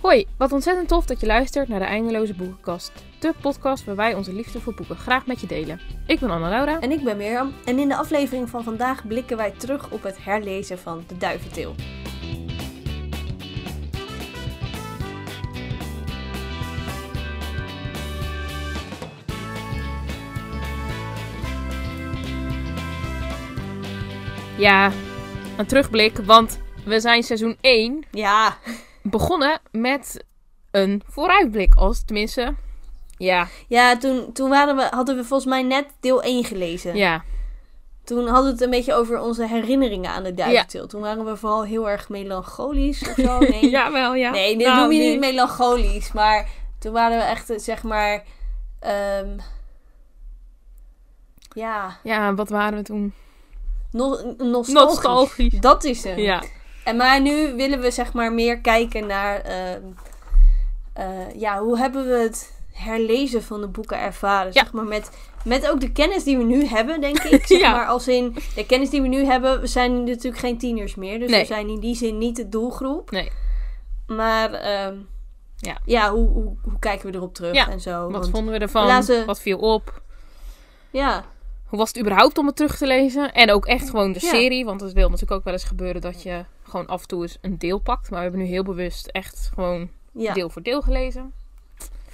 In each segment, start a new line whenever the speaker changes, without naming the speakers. Hoi, wat ontzettend tof dat je luistert naar de Eindeloze Boekenkast. De podcast waar wij onze liefde voor boeken graag met je delen. Ik ben Anna-Laura.
En ik ben Mirjam en in de aflevering van vandaag blikken wij terug op het herlezen van De Duiventil.
Ja, een terugblik, want we zijn seizoen 1
Ja,
begonnen met een vooruitblik. Als tenminste, ja,
ja toen, toen waren we, hadden we volgens mij net deel 1 gelezen.
ja,
Toen hadden we het een beetje over onze herinneringen aan De Duiventil. Toen waren we vooral heel erg melancholisch of zo. Nee,
jawel, ja.
nee dit
Nou,
noem je
nee.
niet melancholisch, maar toen waren we echt, eh, zeg maar, ehm, ja,
Ja, wat waren we toen?
no- nostalgisch.
Nostalgisch.
Dat is hem.
Ja,
En maar nu willen we zeg maar meer kijken naar ehm, eh, ja, hoe hebben we het herlezen van de boeken ervaren.
Ja.
Zeg maar met, met ook de kennis die we nu hebben, denk ik. Zeg
Ja.
maar als in de kennis die we nu hebben, we zijn natuurlijk geen tieners meer. Dus
Nee.
we zijn in die zin niet de doelgroep.
Nee.
Maar ehm,
Ja.
ja, hoe, hoe, hoe kijken we erop terug
Ja,
en zo.
wat
Want-
vonden we ervan?
laten-
Wat viel op?
Ja,
Hoe was het überhaupt om het terug te lezen? En ook echt gewoon de
Ja.
serie, want het wil natuurlijk ook wel eens gebeuren dat je gewoon af en toe eens een deel pakt. Maar we hebben nu heel bewust echt gewoon
ja.
deel voor deel gelezen.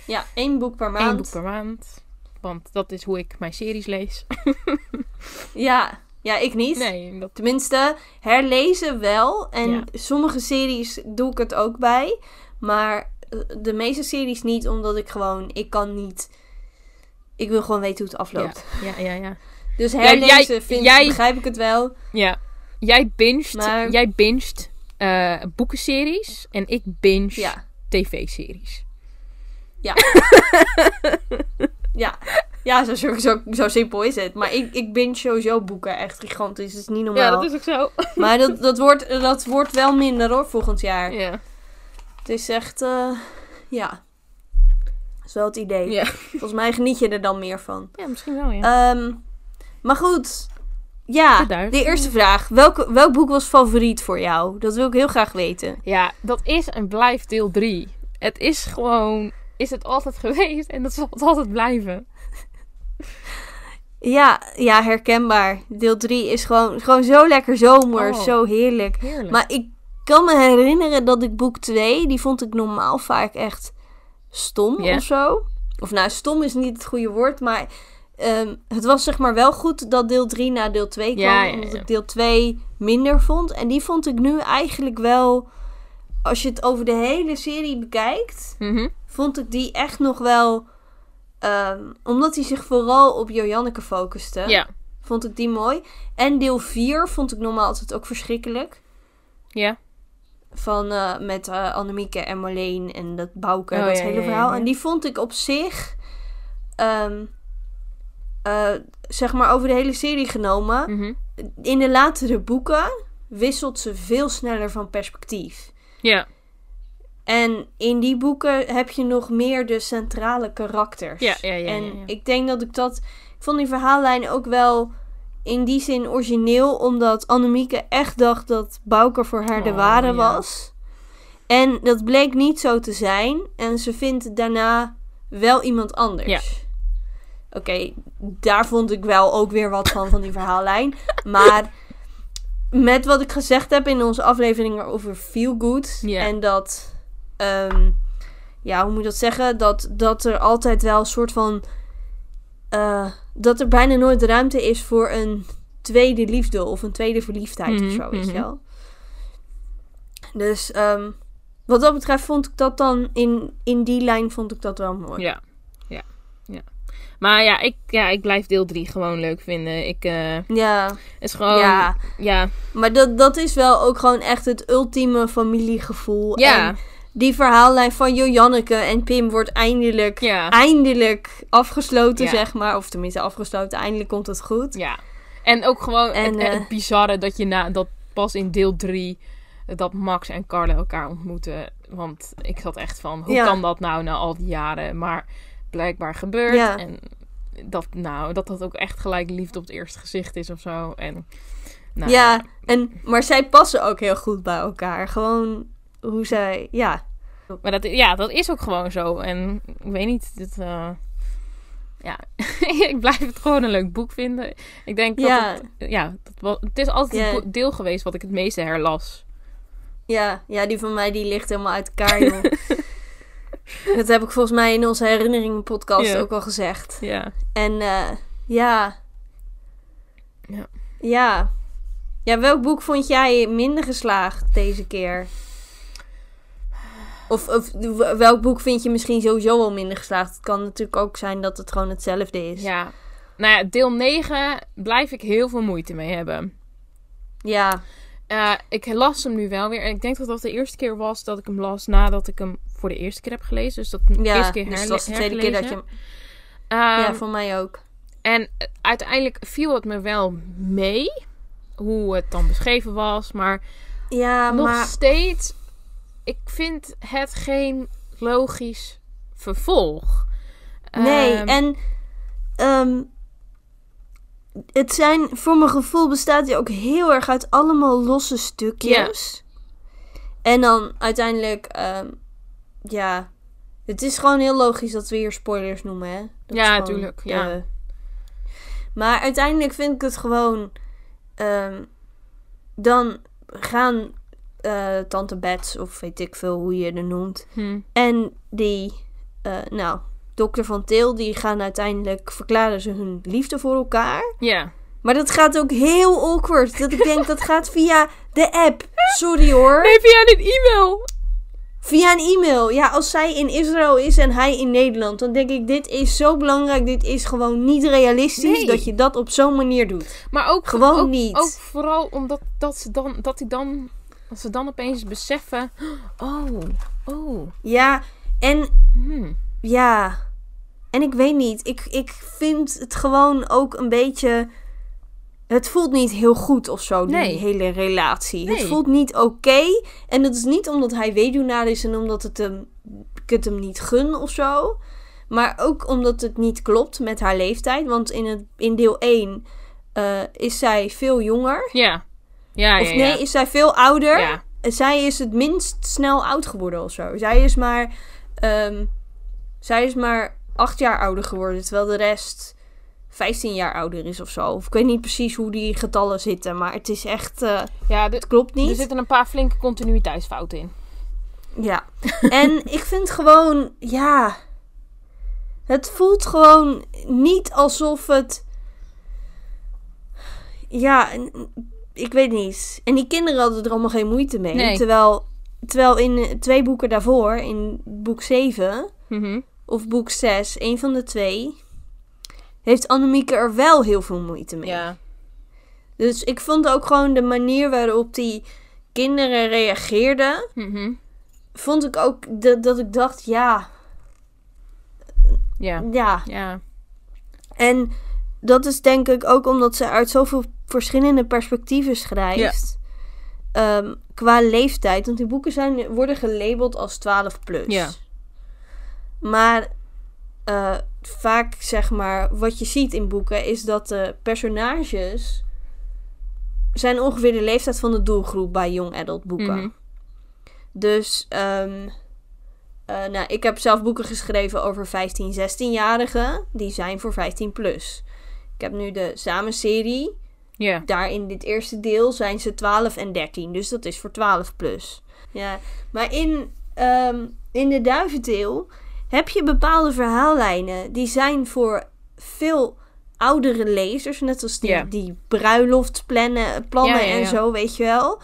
ja, één boek per maand.
Eén boek per maand. Want dat is hoe ik mijn series lees.
Ja. ja, ik niet.
Nee, dat...
Tenminste, herlezen wel. En
Ja.
sommige series doe ik het ook bij. Maar eh, de meeste series niet, omdat ik gewoon... Ik kan niet... Ik wil gewoon weten hoe het
Ja,
afloopt.
ja, ja, ja.
Dus herlezen
jij-
vind,
jij-
begrijp ik het wel.
Ja. Jij binged,
Maar-
jij binged eh, boekenseries en ik binge
Ja,
tv-series.
ja. Ja, zo, zo, zo, zo simpel is het. Maar ik, ik binge sowieso boeken echt gigantisch. Dat is niet normaal.
is ook zo.
Maar dat, dat, wordt, dat wordt wel minder hoor, volgend jaar.
Ja.
Het is echt... eh, ja. Dat is wel het idee.
Ja.
Volgens mij geniet je er dan meer van.
ja, misschien wel, ja.
Ehm, maar goed. Ja,
De
de,
duif.
eerste vraag. Welk, welk boek was favoriet voor jou? Dat wil ik heel graag weten.
Ja, dat is en blijft deel 3. Het is gewoon, is het altijd geweest en dat zal het altijd blijven.
Ja, ja herkenbaar. Deel 3 is gewoon, gewoon zo lekker zomer.
Oh.
Zo heerlijk.
Heerlijk.
Maar ik kan me herinneren dat ik boek 2, die vond ik normaal vaak echt stom
Ja.
of zo. Of nou, stom is niet het goede woord, maar ehm, het was zeg maar wel goed dat deel 3 na deel 2 kwam.
Ja, ja,
Omdat
ja.
ik deel 2 minder vond. En die vond ik nu eigenlijk wel, als je het over de hele serie bekijkt,
Mhm.
vond ik die echt nog wel. ehm, omdat hij zich vooral op Joanneke focuste,
Ja.
vond ik die mooi. En deel 4 vond ik normaal altijd ook verschrikkelijk.
Ja.
Van eh, met eh, Annemieke en Marleen en dat Bouke,
Oh,
dat
ja,
hele
ja, ja,
verhaal.
ja.
En die vond ik op zich, ehm, eh, zeg maar over de hele serie genomen.
Mhm.
In de latere boeken wisselt ze veel sneller van perspectief.
Ja.
En in die boeken heb je nog meer de centrale karakters.
Ja, ja, ja,
en
ja, ja.
ik denk dat ik dat. Ik vond die verhaallijn ook wel in die zin origineel, omdat Annemieke echt dacht dat Bouke voor haar de
Oh,
ware
ja.
was. En dat bleek niet zo te zijn. En ze vindt daarna wel iemand anders.
Ja.
Oké, daar vond ik wel ook weer wat van, van die verhaallijn. Maar met wat ik gezegd heb in onze aflevering over Feel Good.
Ja.
En dat, ehm, ja, hoe moet je dat zeggen? Dat, dat er altijd wel een soort van. eh, dat er bijna nooit ruimte is voor een tweede liefde of een tweede verliefdheid
Mhm,
of zo, weet je
mhm.
wel. Dus ehm, wat dat betreft vond ik dat dan in, in die lijn vond ik dat wel mooi.
Ja. Ja. Ja. Maar ja ik, ja, ik blijf deel 3 gewoon leuk vinden. Ik, eh,
Ja,
het is gewoon, ja.
Ja.
Ja.
maar dat, dat is wel ook gewoon echt het ultieme familiegevoel.
Ja.
En die verhaallijn van Joanneke en Pim wordt eindelijk,
Ja.
eindelijk afgesloten,
Ja.
zeg maar. Of tenminste afgesloten, eindelijk komt het goed.
En ook gewoon
En,
het,
eh,
het bizarre dat je na, dat pas in deel 3 dat Max en Carla elkaar ontmoeten. Want ik zat echt van, hoe
Ja.
kan dat nou na al die jaren? Maar blijkbaar gebeurt.
Ja.
En dat, nou, dat dat ook echt gelijk liefde op het eerste gezicht is of zo. En, nou,
ja, en, maar zij passen ook heel goed bij elkaar. Gewoon hoe zij, ja.
Maar dat, ja, dat is ook gewoon zo. En ik weet niet, dit, eh, ja, ik blijf het gewoon een leuk boek vinden. Ik denk dat
Ja.
het, ja, dat, wel- het is altijd
Ja.
het bo- deel geweest wat ik het meeste herlas.
Ja, ja, die van mij die ligt helemaal uit elkaar, joh. dat heb ik volgens mij in onze herinneringen podcast
Ja.
ook al gezegd.
Ja,
En eh, ja.
Ja.
ja. Ja, welk boek vond jij minder geslaagd deze keer? Of, of w- welk boek vind je misschien sowieso al minder geslaagd? Het kan natuurlijk ook zijn dat het gewoon hetzelfde is.
ja. Nou ja, deel 9 blijf ik heel veel moeite mee hebben.
Ja.
Eh, ik las hem nu wel weer. En ik denk dat dat de eerste keer was dat ik hem las nadat ik hem voor de eerste keer heb gelezen. Dus dat de
ja.
eerste keer
dus
herle-
het was de tweede keer dat je
hergelezen.
hem... ja,
Ehm,
voor mij ook.
En eh, uiteindelijk viel het me wel mee hoe het dan beschreven was. Maar
Ja,
nog
maar...
steeds, ik vind het geen logisch vervolg.
Nee,
Ehm,
en ehm, het zijn, voor mijn gevoel bestaat hij ook heel erg uit allemaal losse stukjes. En dan uiteindelijk, ehm, ja, het is gewoon heel logisch dat we hier spoilers noemen, hè? Dat
Ja,
is gewoon,
tuurlijk, ja.
eh, maar uiteindelijk vind ik het gewoon, ehm, dan gaan eh, tante Bets, of weet ik veel hoe je er noemt,
hm,
en die, eh, nou, dokter van Til, die gaan uiteindelijk verklaren ze hun liefde voor elkaar.
ja,
Maar dat gaat ook heel awkward. Dat ik denk, dat gaat via de app. Sorry hoor.
nee, via een e-mail.
Via een e-mail. Ja, als zij in Israël is en hij in Nederland, dan denk ik, dit is zo belangrijk. Dit is gewoon niet realistisch
Nee.
dat je dat op zo'n manier doet.
Maar ook
Gewoon
ook-
niet.
Ook vooral omdat dat ze dan, dat ik dan, dat ze dan opeens beseffen, oh, oh,
Ja, en
hm,
Ja. En ik weet niet. Ik, ik vind het gewoon ook een beetje. Het voelt niet heel goed of zo, die
Nee.
hele relatie. Het
Nee.
voelt niet oké. En dat is niet omdat hij weduwnaar is en omdat het hem, ik het hem niet gun of zo. Maar ook omdat het niet klopt met haar leeftijd. Want in, het, in deel 1 eh, is zij veel jonger.
ja, ja,
Of
ja,
nee, is zij veel ouder.
ja,
Zij is het minst snel oud geworden of zo. Zij is maar, ehm, zij is maar acht jaar ouder geworden, terwijl de rest 15 jaar ouder is of zo. Of ik weet niet precies hoe die getallen zitten, maar het is echt, eh,
ja, de-
het klopt niet.
er zitten een paar flinke continuïteitsfouten in.
Ja. En ik vind gewoon, ja. Het voelt gewoon niet alsof het. Ja, n- ik weet niet. En die kinderen hadden er allemaal geen moeite mee.
Nee.
Terwijl, terwijl in eh, twee boeken daarvoor, in boek 7
Mhm.
of boek 6, een van de twee, heeft Annemieke er wel heel veel moeite mee.
Ja.
Dus ik vond ook gewoon de manier waarop die kinderen reageerden.
Mhm.
vond ik ook dat, dat ik dacht, ja,
Ja.
ja.
Ja.
En dat is denk ik ook omdat ze uit zoveel verschillende perspectieven schrijft. Ehm, qua leeftijd, want die boeken zijn, worden gelabeld als 12 plus.
Ja.
Maar eh, vaak zeg maar, wat je ziet in boeken is dat de personages zijn ongeveer de leeftijd van de doelgroep bij young adult boeken.
Mhm.
Dus ehm, eh, nou, ik heb zelf boeken geschreven over 15, 16-jarigen. Die zijn voor 15 plus. Ik heb nu de samenserie.
Ja.
Daar in dit eerste deel zijn ze 12 en 13. Dus dat is voor 12 plus. Ja, maar in, ehm, in de duivendeel heb je bepaalde verhaallijnen. Die zijn voor veel oudere lezers. Net als die,
Ja.
die bruiloftsplannen plannen
Ja, ja,
en
ja.
zo, weet je wel.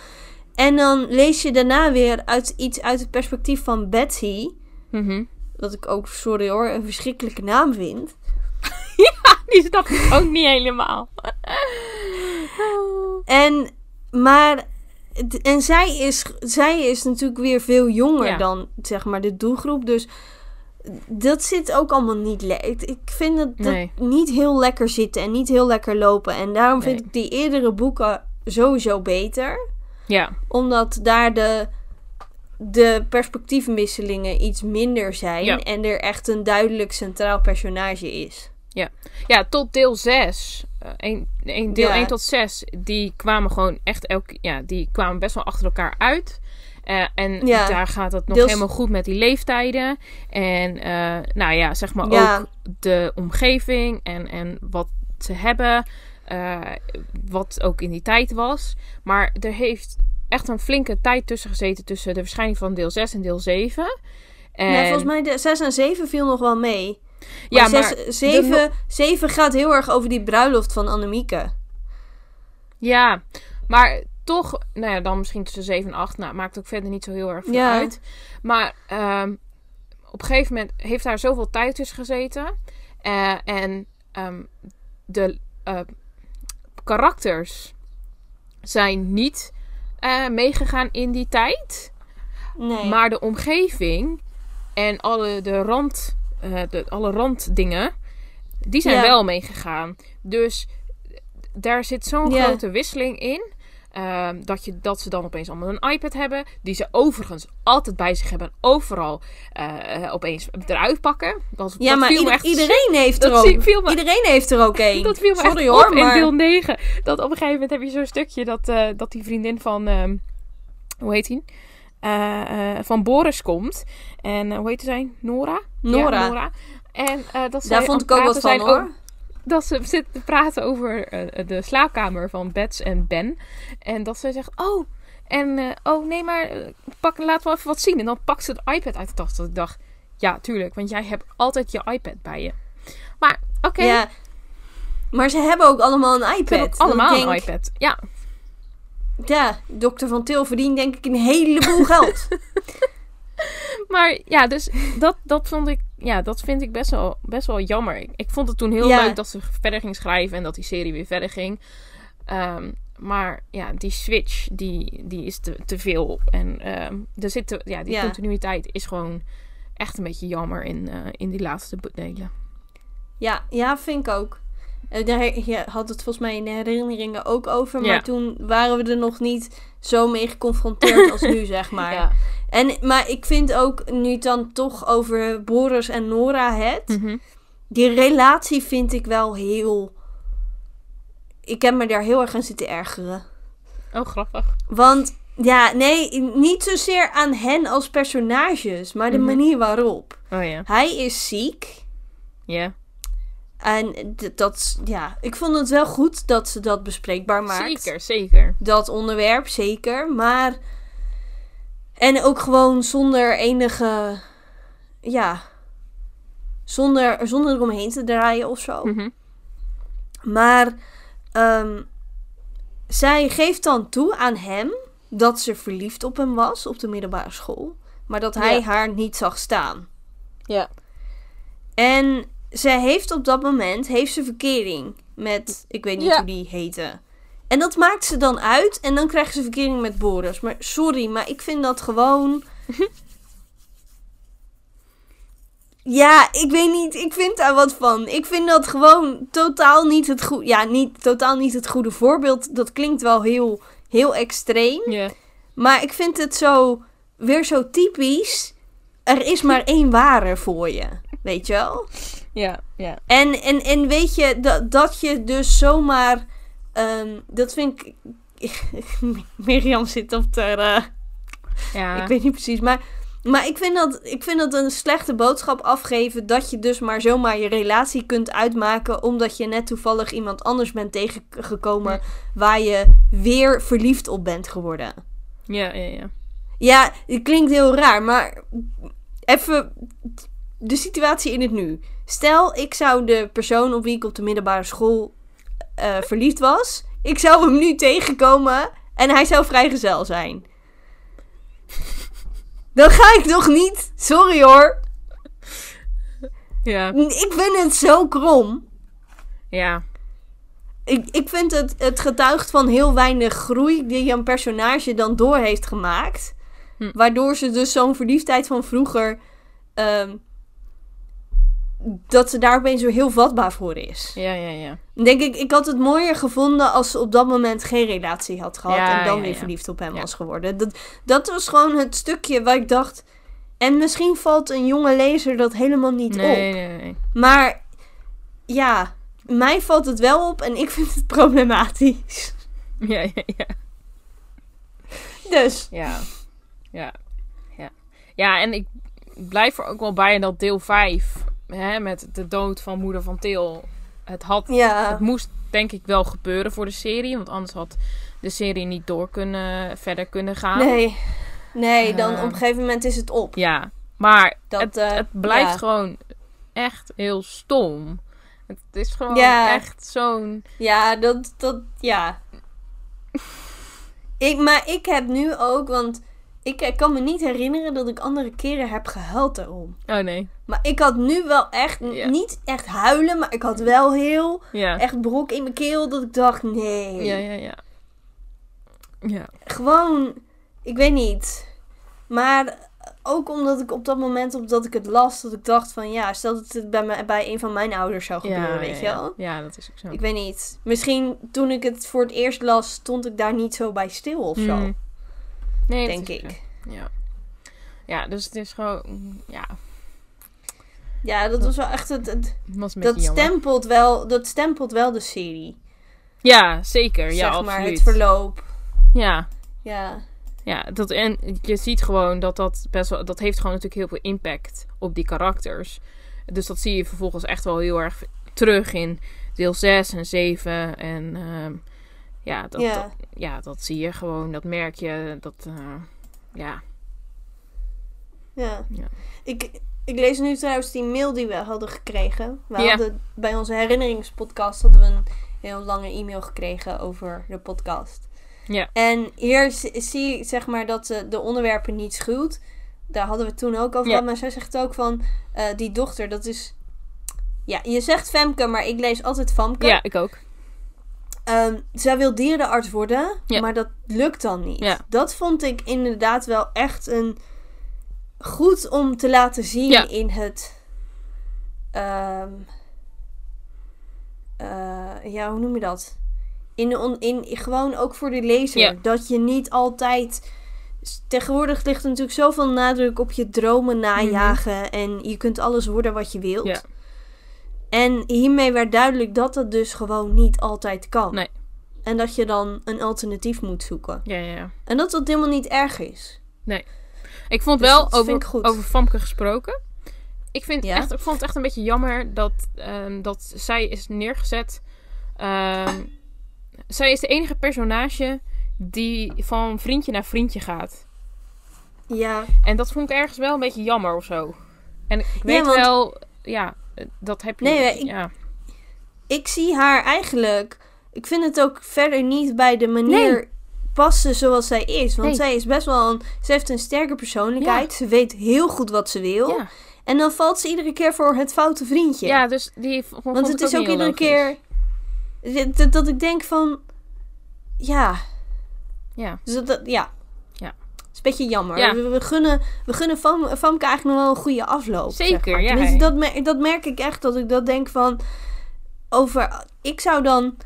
En dan lees je daarna weer uit, iets uit het perspectief van Betsy.
Mhm.
Wat ik ook, sorry hoor, een verschrikkelijke naam vind.
Die snap ik ook niet helemaal.
En, maar, het- en zij is, zij is natuurlijk weer veel jonger
Ja.
dan, zeg maar, de doelgroep. Dus dat zit ook allemaal niet lekker. Ik ik vind dat, dat
Nee.
niet heel lekker zitten en niet heel lekker lopen. En daarom vind
Nee.
ik die eerdere boeken sowieso beter.
Ja.
Omdat daar de, de perspectiefwisselingen iets minder zijn.
Ja.
En er echt een duidelijk centraal personage is.
Ja, tot deel 6. Een, een, deel
Ja.
1 tot 6. Die kwamen gewoon echt elk. Ja, die kwamen best wel achter elkaar uit. Eh, en
Ja.
daar gaat het nog
Deels-
helemaal goed met die leeftijden. En eh, nou ja, zeg maar
Ja.
ook de omgeving en, en wat ze hebben. eh, wat ook in die tijd was. Maar er heeft echt een flinke tijd tussen gezeten tussen de verschijning van deel 6 en deel 7. En,
Ja, Nou, volgens mij de 6 en 7 viel nog wel mee.
Ja,
Maar,
maar
6, 7, 7 gaat heel erg over die bruiloft van Annemieke.
Ja, maar toch, nou ja, dan misschien tussen 7 en 8. Nou, maakt ook verder niet zo heel erg veel
Ja.
uit. Maar ehm, op een gegeven moment heeft daar zoveel tijd tussen gezeten. Eh, en ehm, de eh, karakters zijn niet eh, meegegaan in die tijd.
Nee.
Maar de omgeving en alle, de rand, eh, de, alle randdingen, die zijn
Ja.
wel meegegaan. Dus daar zit zo'n
Ja.
grote wisseling in. ehm, dat, je, dat ze dan opeens allemaal een iPad hebben. Die ze overigens altijd bij zich hebben. en Overal eh, eh, opeens eruit pakken. Dat,
ja,
dat
maar
viel me
ieder-
echt
iedereen heeft er
dat
ook.
viel me-
Iedereen heeft er ook één.
dat viel me
Sorry
echt
hoor,
op
maar-
in deel 9. Dat op een gegeven moment heb je zo'n stukje dat, eh, dat die vriendin van... ehm, hoe heet die? Eh, eh, van Boris komt. En eh, hoe heet zij? Nora?
Nora.
Ja, Nora. En eh, dat zij
Daar
aan
vond
het
ik ook
praten
wat van
zijn
hoor.
o- dat ze zit te praten over eh, de slaapkamer van Bets en Ben. En dat zij zegt, oh... En eh, oh nee, maar eh, pak, laat wel even wat zien. En dan pakt ze de iPad uit de tas. Dat ik dacht, ja, tuurlijk, want jij hebt altijd je iPad bij je. Maar oké,
Ja. Maar ze hebben ook allemaal een
ik heb
iPad.
ook allemaal
Dan
een
denk-
iPad. Ja,
Ja, dokter van Til verdient denk ik een heleboel geld.
Maar ja, dus dat, dat vond ik, ja, dat vind ik best wel, best wel jammer. Ik, ik vond het toen heel
Ja.
leuk dat ze verder ging schrijven en dat die serie weer verder ging. Ehm, maar ja, die switch, die, die is te, te veel. En ehm, er zit te- ja, die
Ja.
continuïteit is gewoon echt een beetje jammer in, eh, in die laatste be- delen.
Ja, ja vind ik ook. Eh, Daar je had het volgens mij in de herinneringen ook over.
Ja.
Maar toen waren we er nog niet zo mee geconfronteerd als nu, zeg maar.
Ja.
En, maar ik vind ook, nu het dan toch over Boris en Nora hebt.
Mhm.
Die relatie vind ik wel heel... Ik heb me daar heel erg aan zitten ergeren.
Oh, grappig.
Want ja, nee, niet zozeer aan hen als personages, maar de
Mhm.
manier waarop.
Oh ja.
Hij is ziek.
Ja.
En d- dat, is- ja, ik vond het wel goed dat ze dat bespreekbaar maakt.
Zeker, zeker.
Dat onderwerp, zeker. Maar. En ook gewoon zonder enige. Ja. Zonder, zonder eromheen te draaien of zo.
Mhm.
Maar ehm, zij geeft dan toe aan hem dat ze verliefd op hem was op de middelbare school. Maar dat hij
Ja.
haar niet zag staan.
Ja.
En zij heeft op dat moment heeft ze verkering met, ik weet niet
Ja.
hoe die heten. En dat maakt ze dan uit en dan krijgt ze verkering met Boris. Maar sorry, maar ik vind dat gewoon... Ja, ik weet niet. Ik vind daar wat van. Ik vind dat gewoon totaal niet het goede... Ja, niet, totaal niet het goede voorbeeld. Dat klinkt wel heel, heel extreem.
Ja.
Maar ik vind het zo... Weer zo typisch. Er is maar één ware voor je. Weet je wel?
Ja. Ja.
En, en, en weet je, dat, dat je dus zomaar... ehm, dat vind ik... Mirjam zit op de...
Ja.
Ik weet niet precies, maar... Maar ik vind, dat, ik vind dat een slechte boodschap afgeven dat je dus maar zomaar je relatie kunt uitmaken omdat je net toevallig iemand anders bent tegengekomen
Ja.
waar je weer verliefd op bent geworden.
ja, ja, ja.
Ja, het klinkt heel raar, maar even de situatie in het nu. Stel, ik zou de persoon op wie ik op de middelbare school eh, verliefd was, ik zou hem nu tegenkomen en hij zou vrijgezel zijn. Dan ga ik nog niet, sorry hoor.
Ja.
Ik vind het zo krom.
Ja.
Ik, ik vind het, het getuigt van heel weinig groei die een personage dan door heeft gemaakt.
Hm.
Waardoor ze dus zo'n verliefdheid van vroeger. ehm, dat ze daar opeens zo heel vatbaar voor is.
Ja, ja, ja.
Dan Denk ik, ik had het mooier gevonden als ze op dat moment geen relatie had gehad.
Ja,
en dan
ja,
weer
ja.
verliefd op hem
Ja.
was geworden. Dat, dat was gewoon het stukje waar ik dacht. En misschien valt een jonge lezer dat helemaal niet op.
Nee, nee, nee.
Maar ja, mij valt het wel op en ik vind het problematisch.
Ja, ja, ja.
Dus
Ja. Ja. Ja. ja, en ik blijf er ook wel bij dat deel 5, hè, met de dood van moeder van Til, het had
Ja.
het moest denk ik wel gebeuren voor de serie. Want anders had de serie niet door kunnen, verder kunnen gaan.
Nee. Nee, dan
Nou. Eh.
op een gegeven moment is het op.
Ja, maar
Dat,
het,
eh,
het blijft
ja.
gewoon echt heel stom. Het is gewoon
Ja.
echt zo'n...
Ja, dat, dat, ja. ik, maar ik heb nu ook, want ik, ik kan me niet herinneren dat ik andere keren heb gehuild daarom.
Oh nee,
Maar ik had nu wel echt, n-
Ja.
niet echt huilen, maar ik had wel heel,
ja.
echt brok in mijn keel dat ik dacht, nee.
Ja, ja, ja. Ja,
Gewoon, ik weet niet. Maar ook omdat ik op dat moment, omdat ik het las, dat ik dacht van, ja, stel dat het bij, mij, bij een van mijn ouders zou
ja,
gebeuren, weet
ja,
je
ja.
wel.
Ja, dat is ook zo.
Ik weet niet. Misschien toen ik het voor het eerst las, stond ik daar niet zo bij stil of zo.
Mm. Nee, dat
denk
is ook
ik.
zo. Ja. ja, dus het is gewoon... Ja,
Ja, dat was wel echt het. het-
het was een beetje
dat,
jammer.
stempelt wel, dat stempelt wel de serie.
Ja, zeker. ja,
zeg
absoluut.
maar, het verloop.
Ja,
Ja.
Ja, dat, en je ziet gewoon dat dat best wel... Dat heeft gewoon natuurlijk heel veel impact op die karakters. Dus dat zie je vervolgens echt wel heel erg terug in deel 6 en 7. En ehm, ja, dat,
ja.
Dat, ja, dat zie je gewoon. Dat merk je. Dat, eh, ja.
ja.
ja.
Ik, ik lees nu trouwens die mail die we hadden gekregen. We
Ja.
hadden bij onze herinneringspodcast hadden we een heel lange e-mail gekregen over de podcast.
Ja.
En hier z- zie ik zeg maar dat ze de onderwerpen niet schuwt. Daar hadden we het toen ook over
Ja.
gehad. Maar zij zegt ook van eh, die dochter, dat is. Ja, je zegt Femke, maar ik lees altijd Famke.
ja, ik ook.
Ehm, zij wil dierenarts worden,
Ja.
maar dat lukt dan niet.
Ja.
Dat vond ik inderdaad wel echt een goed om te laten zien
Ja.
in het. ehm, eh, ja, hoe noem je dat? In, de on, in, gewoon ook voor de lezer.
Ja.
Dat je niet altijd. Tegenwoordig ligt er natuurlijk zoveel nadruk op je dromen najagen. En je kunt alles worden wat je wilt.
Mhm. Ja.
En hiermee werd duidelijk dat dat dus gewoon niet altijd kan.
Nee.
En dat je dan een alternatief moet zoeken.
Ja, ja, ja.
En dat dat helemaal niet erg is.
Ik vond
Dus
wel,
dat
over,
vind ik goed.
over Famke gesproken... Ik, vind
Ja?
echt, ik vond het echt een beetje jammer dat, ehm, dat zij is neergezet... ehm, zij is de enige personage die van vriendje naar vriendje gaat.
Ja.
En dat vond ik ergens wel een beetje jammer of zo. En ik weet
want-
wel... Ja, dat heb je...
Nee, ik-
ja.
Ik zie haar eigenlijk. Ik vind het ook verder niet bij de manier passen zoals zij is. Want
Nee.
zij is best wel een. Ze heeft een sterke persoonlijkheid. Ze weet heel goed wat ze wil.
Ja.
En dan valt ze iedere keer voor het foute vriendje.
ja, dus die vond, vond
Want
ik
het is ook
niet heel dus.
iedere keer. Dat, dat ik denk van. Ja.
Ja.
Dus dat, dat- ja.
Ja.
is een beetje jammer.
Ja.
We, we gunnen, we gunnen Fam, Famke eigenlijk nog wel een goede afloop. zeg
Zeker,
maar.
ja,
Tenminste,
ja.
dat, mer- dat merk ik echt. Dat ik dat denk van... Over... Ik zou dan...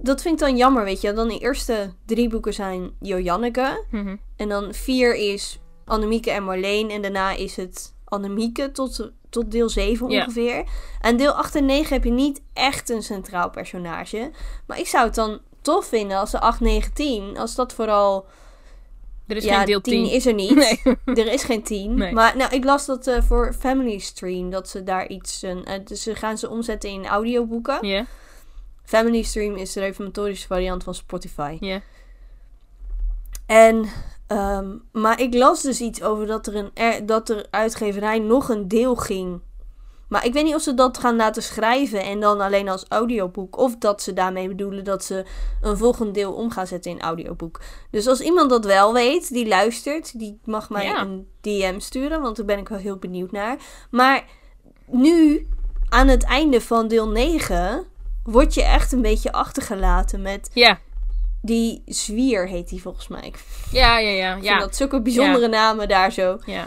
Dat vind ik dan jammer, weet je. Dan de eerste drie boeken zijn Joanneke.
Mhm.
En dan vier is Annemieke en Marleen. En daarna is het Annemieke tot, tot deel 7
Ja.
ongeveer. En deel 8 en 9 heb je niet echt een centraal personage. Maar ik zou het dan tof vinden als de 8, 9, 10... Als dat vooral...
Er is
ja,
Dus geen deel 10.
is er niet.
Nee.
Er is geen 10.
Nee.
Maar nou, ik las dat eh, voor Family Stream. Dat ze daar iets... een eh, dus ze gaan ze omzetten in audioboeken.
Ja,
Family Stream is de reformatorische variant van Spotify.
ja.
En, ehm, maar ik las dus iets over dat er, een, er- dat er uitgeverij nog een deel ging. Maar ik weet niet of ze dat gaan laten schrijven en dan alleen als audioboek. Of dat ze daarmee bedoelen dat ze een volgend deel om gaan zetten in audioboek. Dus als iemand dat wel weet, die luistert, die mag mij
Ja.
een DM sturen. Want daar ben ik wel heel benieuwd naar. Maar nu, aan het einde van deel 9, word je echt een beetje achtergelaten met
Ja,
die zwier, heet die volgens mij. Ik
ja, ja, ja.
ja.
ja.
vind dat zulke bijzondere namen daar zo.
Ja.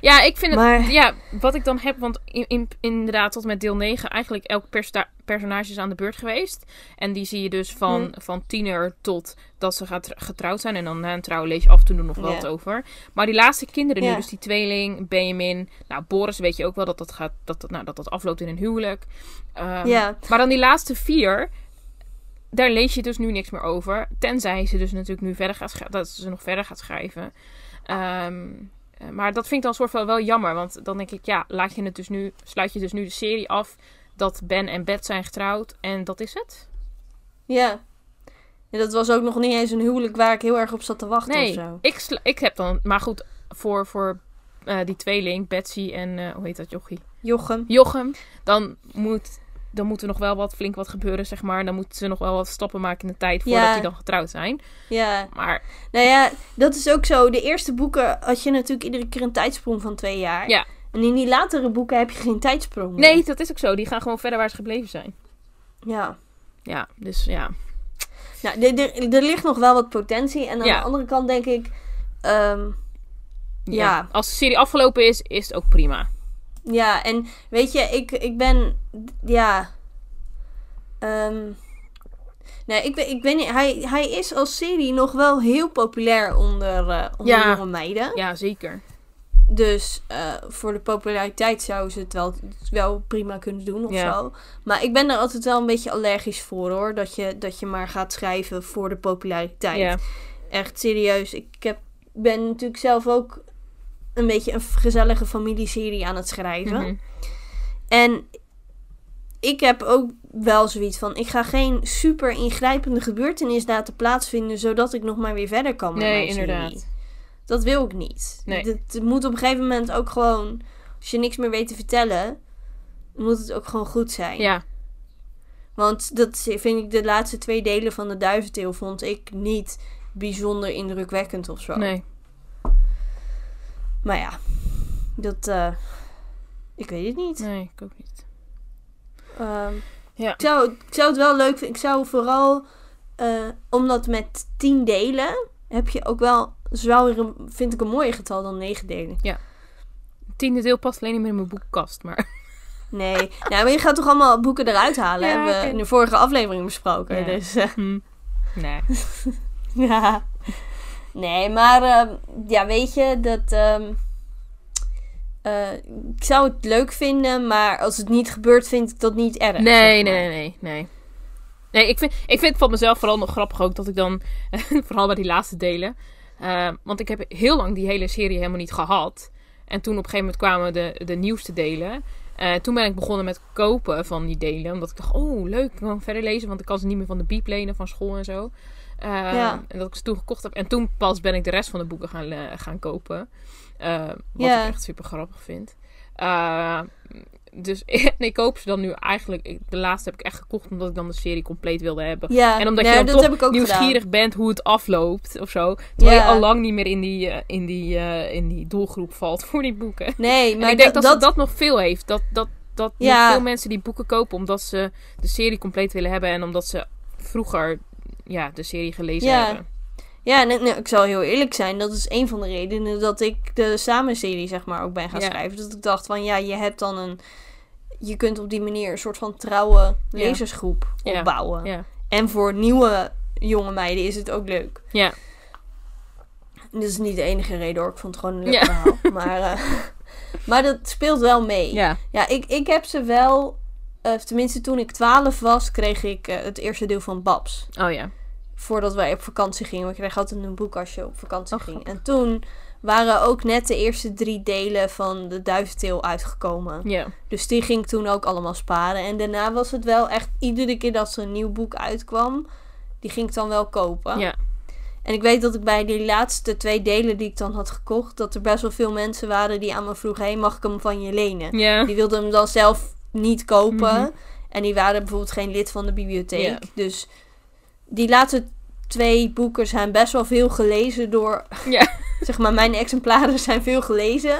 Ja, ik vind het...
Maar-
Ja, wat ik dan heb... Want in, in- inderdaad, tot met deel 9... Eigenlijk elk persta- personage is aan de beurt geweest. En die zie je dus van,
Hm.
van tiener tot dat ze gaat getrouwd zijn. En dan na een trouw lees je af en toe nog wel
Ja.
wat over. Maar die laatste kinderen nu,
Ja.
dus die tweeling, Benjamin... Nou, Boris weet je ook wel dat dat, gaat, dat, dat, nou, dat, dat afloopt in een huwelijk. Ehm,
Ja.
Maar dan die laatste vier... Daar lees je dus nu niks meer over. Tenzij ze dus natuurlijk nu verder gaat, schri- dat ze nog verder gaat schrijven. Ehm, Ehm, eh, maar dat vind ik dan soort van wel jammer. Want dan denk ik, ja, laat je het dus nu, sluit je dus nu de serie af dat Ben en Beth zijn getrouwd. En dat is het.
Ja. En dat was ook nog niet eens een huwelijk waar ik heel erg op zat te wachten
Nee,
of zo.
ik, sla- ik heb dan... Maar goed, voor, voor eh, die tweeling, Betsy en... eh, hoe heet dat, jochie?
Jochem.
Jochem. Dan moet... Dan moet er nog wel wat flink wat gebeuren, zeg maar. Dan moeten ze nog wel wat stappen maken in de tijd voordat
Ja.
die dan getrouwd zijn.
Ja.
Maar
Nou ja, dat is ook zo. De eerste boeken had je natuurlijk iedere keer een tijdsprong van twee jaar.
Ja.
En in die latere boeken heb je geen tijdsprong meer.
nee, dat is ook zo. Die gaan gewoon verder waar ze gebleven zijn.
Ja.
Ja, dus ja.
Nou, er- er- er ligt nog wel wat potentie. En aan
Ja.
de andere kant denk ik... ehm, Ja.
Als de serie afgelopen is, is het ook prima.
ja, en weet je, ik, ik ben... Ja... Ehm, nee, ik, ben- ik ben niet... Hij, hij is als serie nog wel heel populair onder, eh onder
Ja.
jonge meiden.
Ja, zeker.
Dus eh, voor de populariteit zouden ze het wel, wel prima kunnen doen of
Ja.
zo. Maar ik ben daar altijd wel een beetje allergisch voor hoor. Dat je, dat je maar gaat schrijven voor de populariteit.
Ja.
Echt serieus. Ik heb, ben natuurlijk zelf ook een beetje een gezellige familieserie aan het schrijven.
Mhm.
En ik heb ook wel zoiets van... Ik ga geen super ingrijpende gebeurtenis laten plaatsvinden... zodat ik nog maar weer verder kan met
Nee,
mijn serie.
inderdaad.
Dat wil ik niet.
Nee.
Het, het moet op een gegeven moment ook gewoon... Als je niks meer weet te vertellen... moet het ook gewoon goed zijn.
Ja,
Want dat vind ik de laatste twee delen van de Duiventil... vond ik niet bijzonder indrukwekkend of zo.
nee.
Maar ja, dat... eh, ik weet het niet.
Nee, ik ook niet.
Ehm,
Ja.
ik, zou, ik zou het wel leuk vinden. Ik zou vooral... eh, omdat met tien delen heb je ook wel... is wel weer een- vind ik een mooier getal dan negen delen.
Het tiende deel past alleen niet meer in mijn boekkast, maar...
Nee, nou, maar je gaat toch allemaal boeken eruit halen?
Ja,
hebben we
oké.
in de vorige aflevering besproken.
Ja.
Dus eh,
Hm. Nee.
ja. Nee, maar ehm, ja, weet je, dat. ehm, eh, ik zou het leuk vinden, maar als het niet gebeurt, vind ik dat niet erg.
Nee, nee,
zeg maar.
nee, nee, nee. Nee, ik vind, ik vind het van mezelf vooral nog grappig ook dat ik dan, vooral bij die laatste delen, eh, want ik heb heel lang die hele serie helemaal niet gehad. En toen op een gegeven moment kwamen de, de nieuwste delen. Eh, toen ben ik begonnen met kopen van die delen, omdat ik dacht, oh leuk, ik kan verder lezen, want ik kan ze niet meer van de biep lenen van school en zo. Eh,
Ja.
En dat ik ze toen gekocht heb. En toen pas ben ik de rest van de boeken gaan, eh, gaan kopen. Eh, wat
Ja.
ik echt super grappig vind. Eh, dus en ik koop ze dan nu eigenlijk. ik- De laatste heb ik echt gekocht omdat ik dan de serie compleet wilde hebben.
Ja,
En omdat
nee,
je dan
dat
toch
heb ik ook
nieuwsgierig
gedaan.
bent hoe het afloopt of zo. Terwijl
Ja.
je al lang niet meer in die, eh, in, die, eh, in die doelgroep valt voor die boeken.
Nee,
en
maar
ik denk
dat,
dat,
dat,
ze dat nog veel heeft. Dat, dat, dat nog
Ja.
veel mensen die boeken kopen omdat ze de serie compleet willen hebben. En omdat ze vroeger ja, de serie gelezen
Ja.
hebben.
Ja, nee, nee, ik zal heel eerlijk zijn. Dat is een van de redenen dat ik de samenserie zeg maar ook ben gaan
Ja.
schrijven. Dat ik dacht van ja, je hebt dan een... Je kunt op die manier een soort van trouwe
Ja.
lezersgroep
Ja.
opbouwen.
Ja.
En voor nieuwe jonge meiden is het ook leuk.
Ja.
Dat is niet de enige reden hoor. Ik vond het gewoon een leuk
Ja.
verhaal. Maar, eh, maar dat speelt wel mee.
Ja.
Ja, ik, ik heb ze wel... eh, tenminste, toen ik 12 was, kreeg ik eh, het eerste deel van Babs
Oh ja.
voordat wij op vakantie gingen. We kregen altijd een boek als je op vakantie
Oh,
ging. En toen waren ook net de eerste drie delen van de Duiventeel uitgekomen.
Ja.
Dus die ging ik toen ook allemaal sparen. En daarna was het wel echt iedere keer dat er een nieuw boek uitkwam, die ging ik dan wel kopen.
Ja.
En ik weet dat ik bij die laatste twee delen die ik dan had gekocht, dat er best wel veel mensen waren die aan me vroegen: hey, mag ik hem van je lenen?
Ja.
Die wilden hem dan zelf niet kopen.
Mhm.
En die waren bijvoorbeeld geen lid van de bibliotheek.
Ja.
Dus die laatste twee boeken zijn best wel veel gelezen door...
Ja.
zeg maar, mijn exemplaren zijn veel gelezen.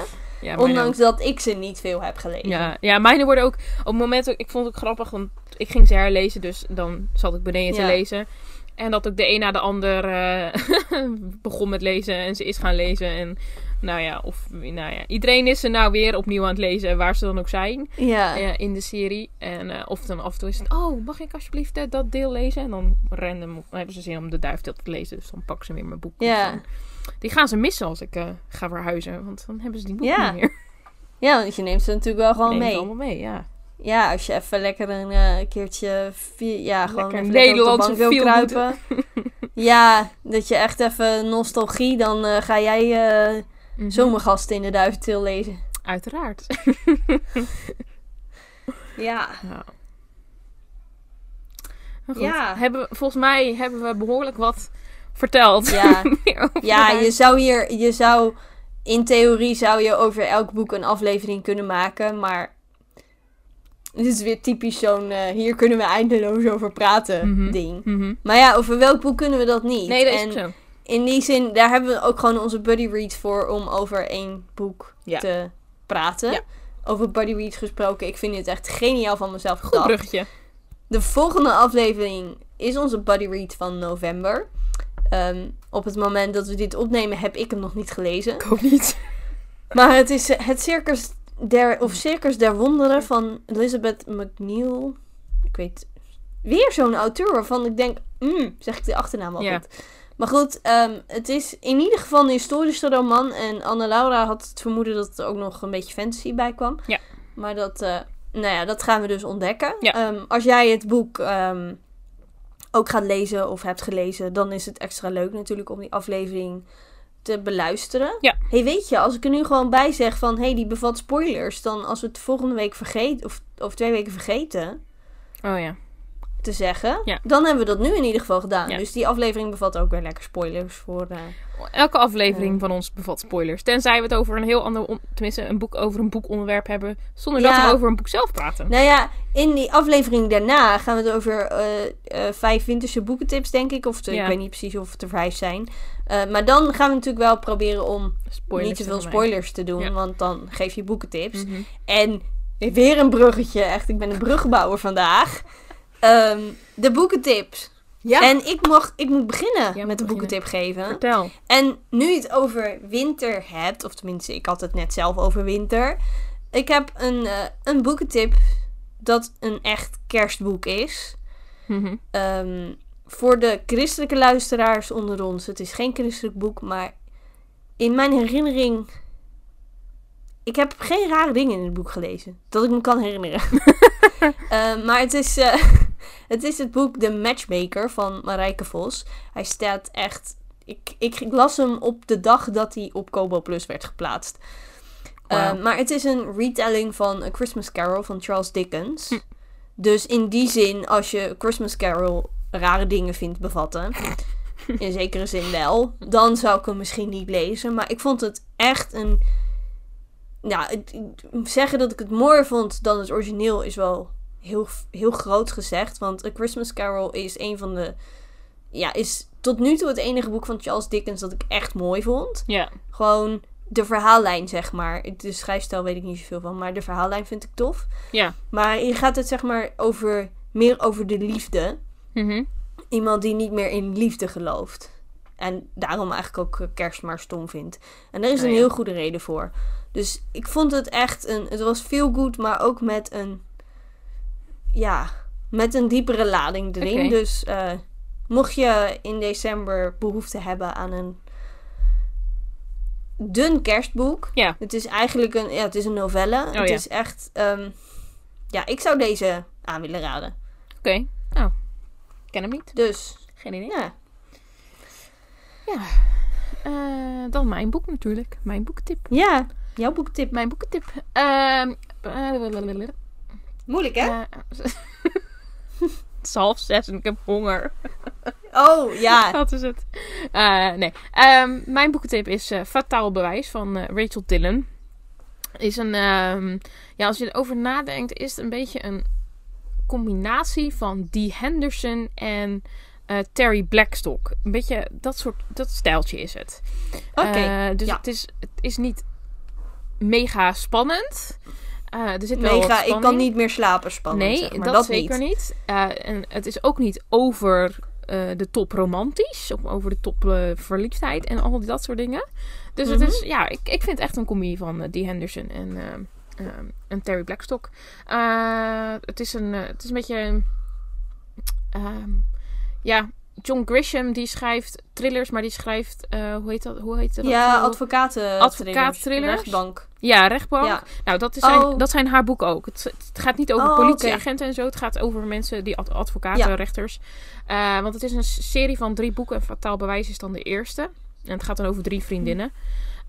ja maar dan-
ondanks dat ik ze niet veel heb gelezen.
Ja, ja, mijne worden ook op het moment, ik vond het ook grappig, want ik ging ze herlezen, dus dan zat ik beneden
Ja.
te lezen. En dat ook de een na de ander eh, begon met lezen en ze is gaan lezen. En nou ja, of, nou ja, iedereen is ze nou weer opnieuw aan het lezen, waar ze dan ook zijn
Ja.
eh, in de serie. En eh, of dan af en toe is het, oh, mag ik alsjeblieft eh, dat deel lezen? En dan random hebben ze zin om de duifdeel te lezen, dus dan pakken ze weer mijn boek.
Ja.
En Die gaan ze missen als ik eh, ga verhuizen, want dan hebben ze die boek
Ja.
niet meer.
Ja, want je neemt ze natuurlijk wel gewoon
Neem het
mee.
allemaal mee, ja.
Ja, als je even lekker een eh, keertje... vi- ja, gewoon
Lekker
even lekker op de
Nederlandse
bank wil
feel-good.
kruipen. Ja, dat je echt even nostalgie, dan eh, ga jij eh,
Mhm.
Zomergasten in de Duiventil lezen.
Uiteraard.
Ja.
Ja. Maar goed,
Ja.
Hebben, we- volgens mij hebben we behoorlijk wat verteld.
Ja.
Meer over
Ja,
de-
je zou hier, je zou, in theorie zou je over elk boek een aflevering kunnen maken, maar dit is weer typisch zo'n, eh, hier kunnen we eindeloos over praten
Mhm.
ding.
Mhm.
Maar ja, over welk boek kunnen we dat niet?
Nee, dat is
en
ook zo.
in die zin, daar hebben we ook gewoon onze buddy read voor om over één boek
Ja.
te praten.
Ja.
Over buddy read gesproken, ik vind het echt geniaal van mezelf
Goed
gedacht.
bruggetje.
De volgende aflevering is onze Buddy Read van november. Ehm, op het moment dat we dit opnemen heb ik hem nog niet gelezen.
Ik hoop niet.
Maar het is eh, het Circus der, of Circus der Wonderen van Elizabeth McNeil. Ik weet weer zo'n auteur waarvan ik denk, mm, zeg ik de achternaam al
Ja.
goed. Maar goed, ehm, het is in ieder geval een historische roman. En Anne-Laura had het vermoeden dat er ook nog een beetje fantasy bij kwam.
Ja.
Maar dat, eh, nou ja, dat gaan we dus ontdekken.
Ja.
Ehm, als jij het boek ehm, ook gaat lezen of hebt gelezen, dan is het extra leuk natuurlijk om die aflevering te beluisteren.
Ja.
hey, weet je, als ik er nu gewoon bij zeg van, hey, die bevat spoilers, dan als we het volgende week vergeten, of over twee weken vergeten
Oh ja.
te zeggen,
Ja.
dan hebben we dat nu in ieder geval gedaan.
Ja.
Dus die aflevering bevat ook weer lekker spoilers voor. eh,
Elke aflevering van ons bevat spoilers. Tenzij we het over een heel ander, on- tenminste een boek over een boekonderwerp hebben. Zonder dat
Ja.
we over een boek zelf praten.
Nou ja, in die aflevering daarna gaan we het over eh, eh, vijf winterse boekentips, denk ik. Of de-
Ja.
ik weet niet precies of het er vijf zijn. Eh, maar dan gaan we natuurlijk wel proberen om
Spoilers
niet te veel
vermijden.
spoilers te doen,
Ja.
want dan geef je boekentips.
Mhm.
En weer een bruggetje, echt. Ik ben een brugbouwer vandaag. Ehm, de boekentips.
Ja.
En ik, mocht, ik moet beginnen
moet
met de
beginnen.
boekentip geven.
Vertel.
En nu je het over winter hebt, of tenminste, ik had het net zelf over winter. Ik heb een, eh, een boekentip dat een echt kerstboek is.
Mhm.
Ehm, voor de christelijke luisteraars onder ons. Het is geen christelijk boek, maar in mijn herinnering. Ik heb geen rare dingen in het boek gelezen. Dat ik me kan herinneren. Ehm, maar het is, eh, het is het boek The Matchmaker van Marijke Vos. Hij staat echt. Ik, ik, ik las hem op de dag dat hij op Kobo Plus werd geplaatst.
Wauw.
Ehm, maar het is een retelling van A Christmas Carol van Charles Dickens. Dus in die zin, als je Christmas Carol rare dingen vindt bevatten, in zekere zin wel, dan zou ik hem misschien niet lezen. Maar ik vond het echt een. Nou, het- zeggen dat ik het mooier vond dan het origineel is wel heel, heel groot gezegd. Want A Christmas Carol is een van de. Ja, is tot nu toe het enige boek van Charles Dickens dat ik echt mooi vond.
Ja.
Gewoon de verhaallijn, zeg maar. De schrijfstijl weet ik niet zoveel van, maar de verhaallijn vind ik tof.
Ja.
Maar hier gaat het zeg maar over, meer over de liefde.
Mhm.
Iemand die niet meer in liefde gelooft. En daarom eigenlijk ook eh, kerst maar stom vindt. En daar is
Oh
een
ja.
heel goede reden voor. Dus ik vond het echt een... Het was veel goed, maar ook met een... Ja, met een diepere lading erin.
Oké.
Dus eh, mocht je in december behoefte hebben aan een dun kerstboek.
Ja. Oh
Het is eigenlijk een, ja, het is een novelle. het
ja.
is echt, ehm, ja, ik zou deze aan willen raden.
Oké. Nou. Ik ken hem niet.
Dus,
Geen idee.
ja.
Eh, dan mijn boek natuurlijk. Mijn boektip.
Ja, jouw boektip.
Mijn boekentip. Ehm, eh,
Moeilijk, hè?
eh, het is half zes en ik heb honger.
Oh, ja.
Dat is het. Eh, nee. Ehm, mijn boekentip is eh Fataal Bewijs van eh, Rachel Dillon. Is een, ehm, ja, als je erover nadenkt, is het een beetje een combinatie van Dee Henderson en eh, Terry Blackstock. Een beetje dat soort, dat stijltje is het.
Oké.
Eh, dus
ja.
het, is, het is niet mega spannend. Eh, er zit wel wat
Mega, ik kan
spanning.
niet meer slapen spannend,
Nee,
zeg maar.
dat,
dat,
zeker
niet.
niet. Eh, en het is ook niet over eh, de top romantisch, of over de top eh, verliefdheid en al dat soort dingen. Dus
Mhm.
het is, ja, ik, ik vind het echt een comedie van eh, Dee Henderson en, eh, eh, en Terry Blackstock. Eh, het, is een, eh, het is een beetje. ehm, ja, John Grisham die schrijft thrillers, maar die schrijft, eh, hoe heet dat? Hoe heet dat?
ja,
Hoe-
advocaten.
Advocaat-thrillers?
Rechtbank.
ja rechtbank.
Ja.
Nou, dat, is zijn,
Oh.
dat zijn haar boeken ook. Het, het gaat niet over
Oh,
politieagenten en zo. Het gaat over mensen die ad- advocaten,
Ja.
rechters. Eh, want het is een s- serie van drie boeken. En Fataal Bewijs is dan de eerste. En het gaat dan over drie vriendinnen.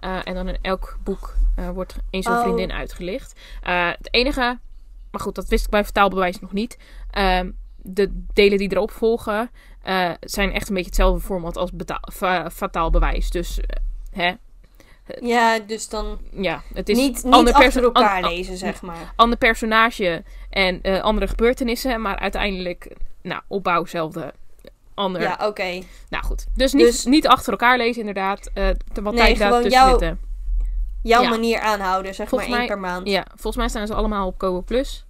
Eh, en dan in elk boek eh, wordt één zo'n
Oh.
vriendin uitgelicht. Eh, het enige, maar goed, dat wist ik bij vertaalbewijs nog niet. Ehm, de delen die erop volgen eh, zijn echt een beetje hetzelfde format als beta- fa- fataal bewijs. Dus eh, hè,
Ja, dus dan
ja, het is
niet, niet
ander
achter
perso-
elkaar
an- an-
lezen, zeg maar.
ander personage en eh, andere gebeurtenissen. Maar uiteindelijk, nou, opbouw hetzelfde. Ander.
Ja, oké.
Nou goed. Dus niet,
Dus-
niet achter elkaar lezen, inderdaad. eh te wat
Nee,
tijd daar
gewoon
tussen
jouw-
zitten.
Jouw
Ja.
manier aanhouden, zeg
Volgens
maar één
mij-
per maand.
Ja, volgens mij staan ze allemaal op Kobo Plus.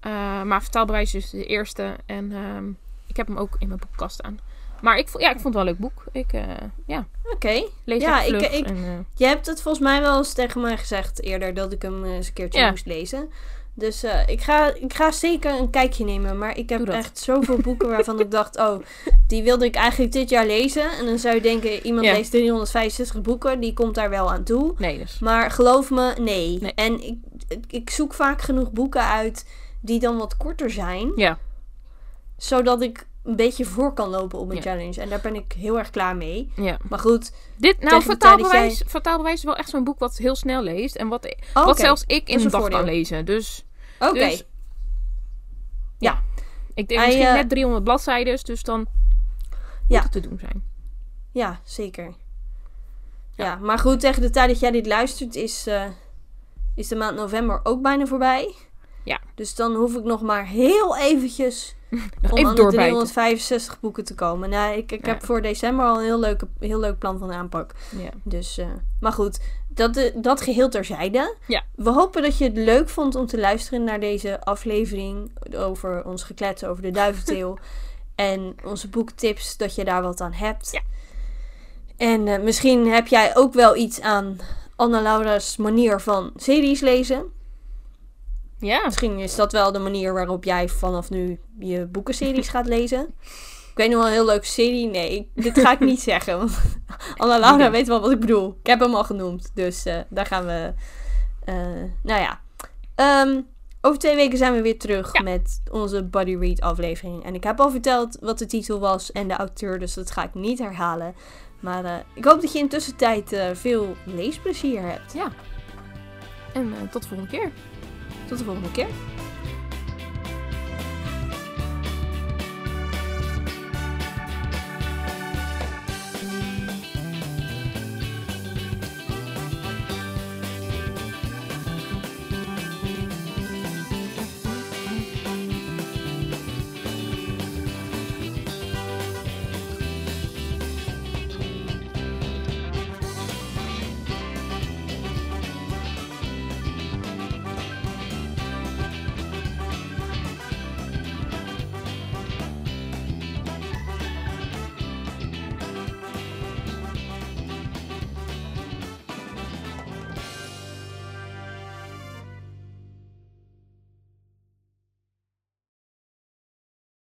Eh, maar vertaalbewijs is de eerste. En ehm, ik heb hem ook in mijn boekkast aan. Maar ik, vo- ja, ik vond het wel een leuk boek. Ik eh, ja,
Oké.
lees
Ja,
het
ik-
vlug.
ik-
en, eh,
Je hebt het volgens mij wel eens tegen mij gezegd eerder dat ik hem eh, eens een keertje
Ja.
moest lezen. Dus eh, ik, ga, ik ga zeker een kijkje nemen. Maar ik
Doe
heb
dat.
echt zoveel boeken waarvan ik dacht, oh, die wilde ik eigenlijk dit jaar lezen. En dan zou je denken, iemand
Ja.
leest 365 boeken, die komt daar wel aan toe.
nee, dus.
Maar geloof me, nee.
Nee.
En ik, ik- ik zoek vaak genoeg boeken uit die dan wat korter zijn.
Ja,
Zodat ik een beetje voor kan lopen op mijn
Ja.
challenge. En daar ben ik heel erg klaar mee.
ja.
Maar goed.
Dit, nou,
Tegen de tijd dat
vertaalbewijs, vertaalbewijs is wel echt zo'n boek wat heel snel leest. En wat,
Oh, Oké.
wat zelfs ik in
is
een
een
dag kan
voordeel.
lezen. Dus
Oké.
dus- ja. ik denk
Hij,
misschien
eh,
net 300 bladzijden. Dus dan
Ja.
moet het te doen zijn.
Ja, zeker.
Ja.
Ja. maar goed, tegen de tijd dat jij dit luistert is, eh, is de maand november ook bijna voorbij.
Ja.
Dus dan hoef ik nog maar heel eventjes
Nog
om
even
aan de
doorbijten.
365 boeken te komen. Nou, ik, ik
Ja.
heb voor december al een heel, leuke, heel leuk plan van aanpak.
Ja.
Dus, eh, maar goed, dat, eh, dat geheel terzijde.
Ja.
We hopen dat je het leuk vond om te luisteren naar deze aflevering over ons geklets over de duiventil. en onze boektips, dat je daar wat aan hebt.
Ja.
En eh, misschien heb jij ook wel iets aan Anna-Laura's manier van series lezen.
ja,
Misschien is dat wel de manier waarop jij vanaf nu je boekenseries gaat lezen. Ik weet nog wel een heel leuke serie. Nee, ik- dit ga ik niet zeggen. Want Anna Laura
Oké.
weet wel wat ik bedoel. Ik heb hem al genoemd. Dus eh, daar gaan we. eh, nou ja. Ehm, over twee weken zijn we weer terug
Ja.
met onze Buddy Read aflevering. En ik heb al verteld wat de titel was en de auteur. Dus dat ga ik niet herhalen. Maar eh, ik hoop dat je intussen tijd eh, veel leesplezier hebt.
en eh, tot de volgende keer.
Tot de volgende keer.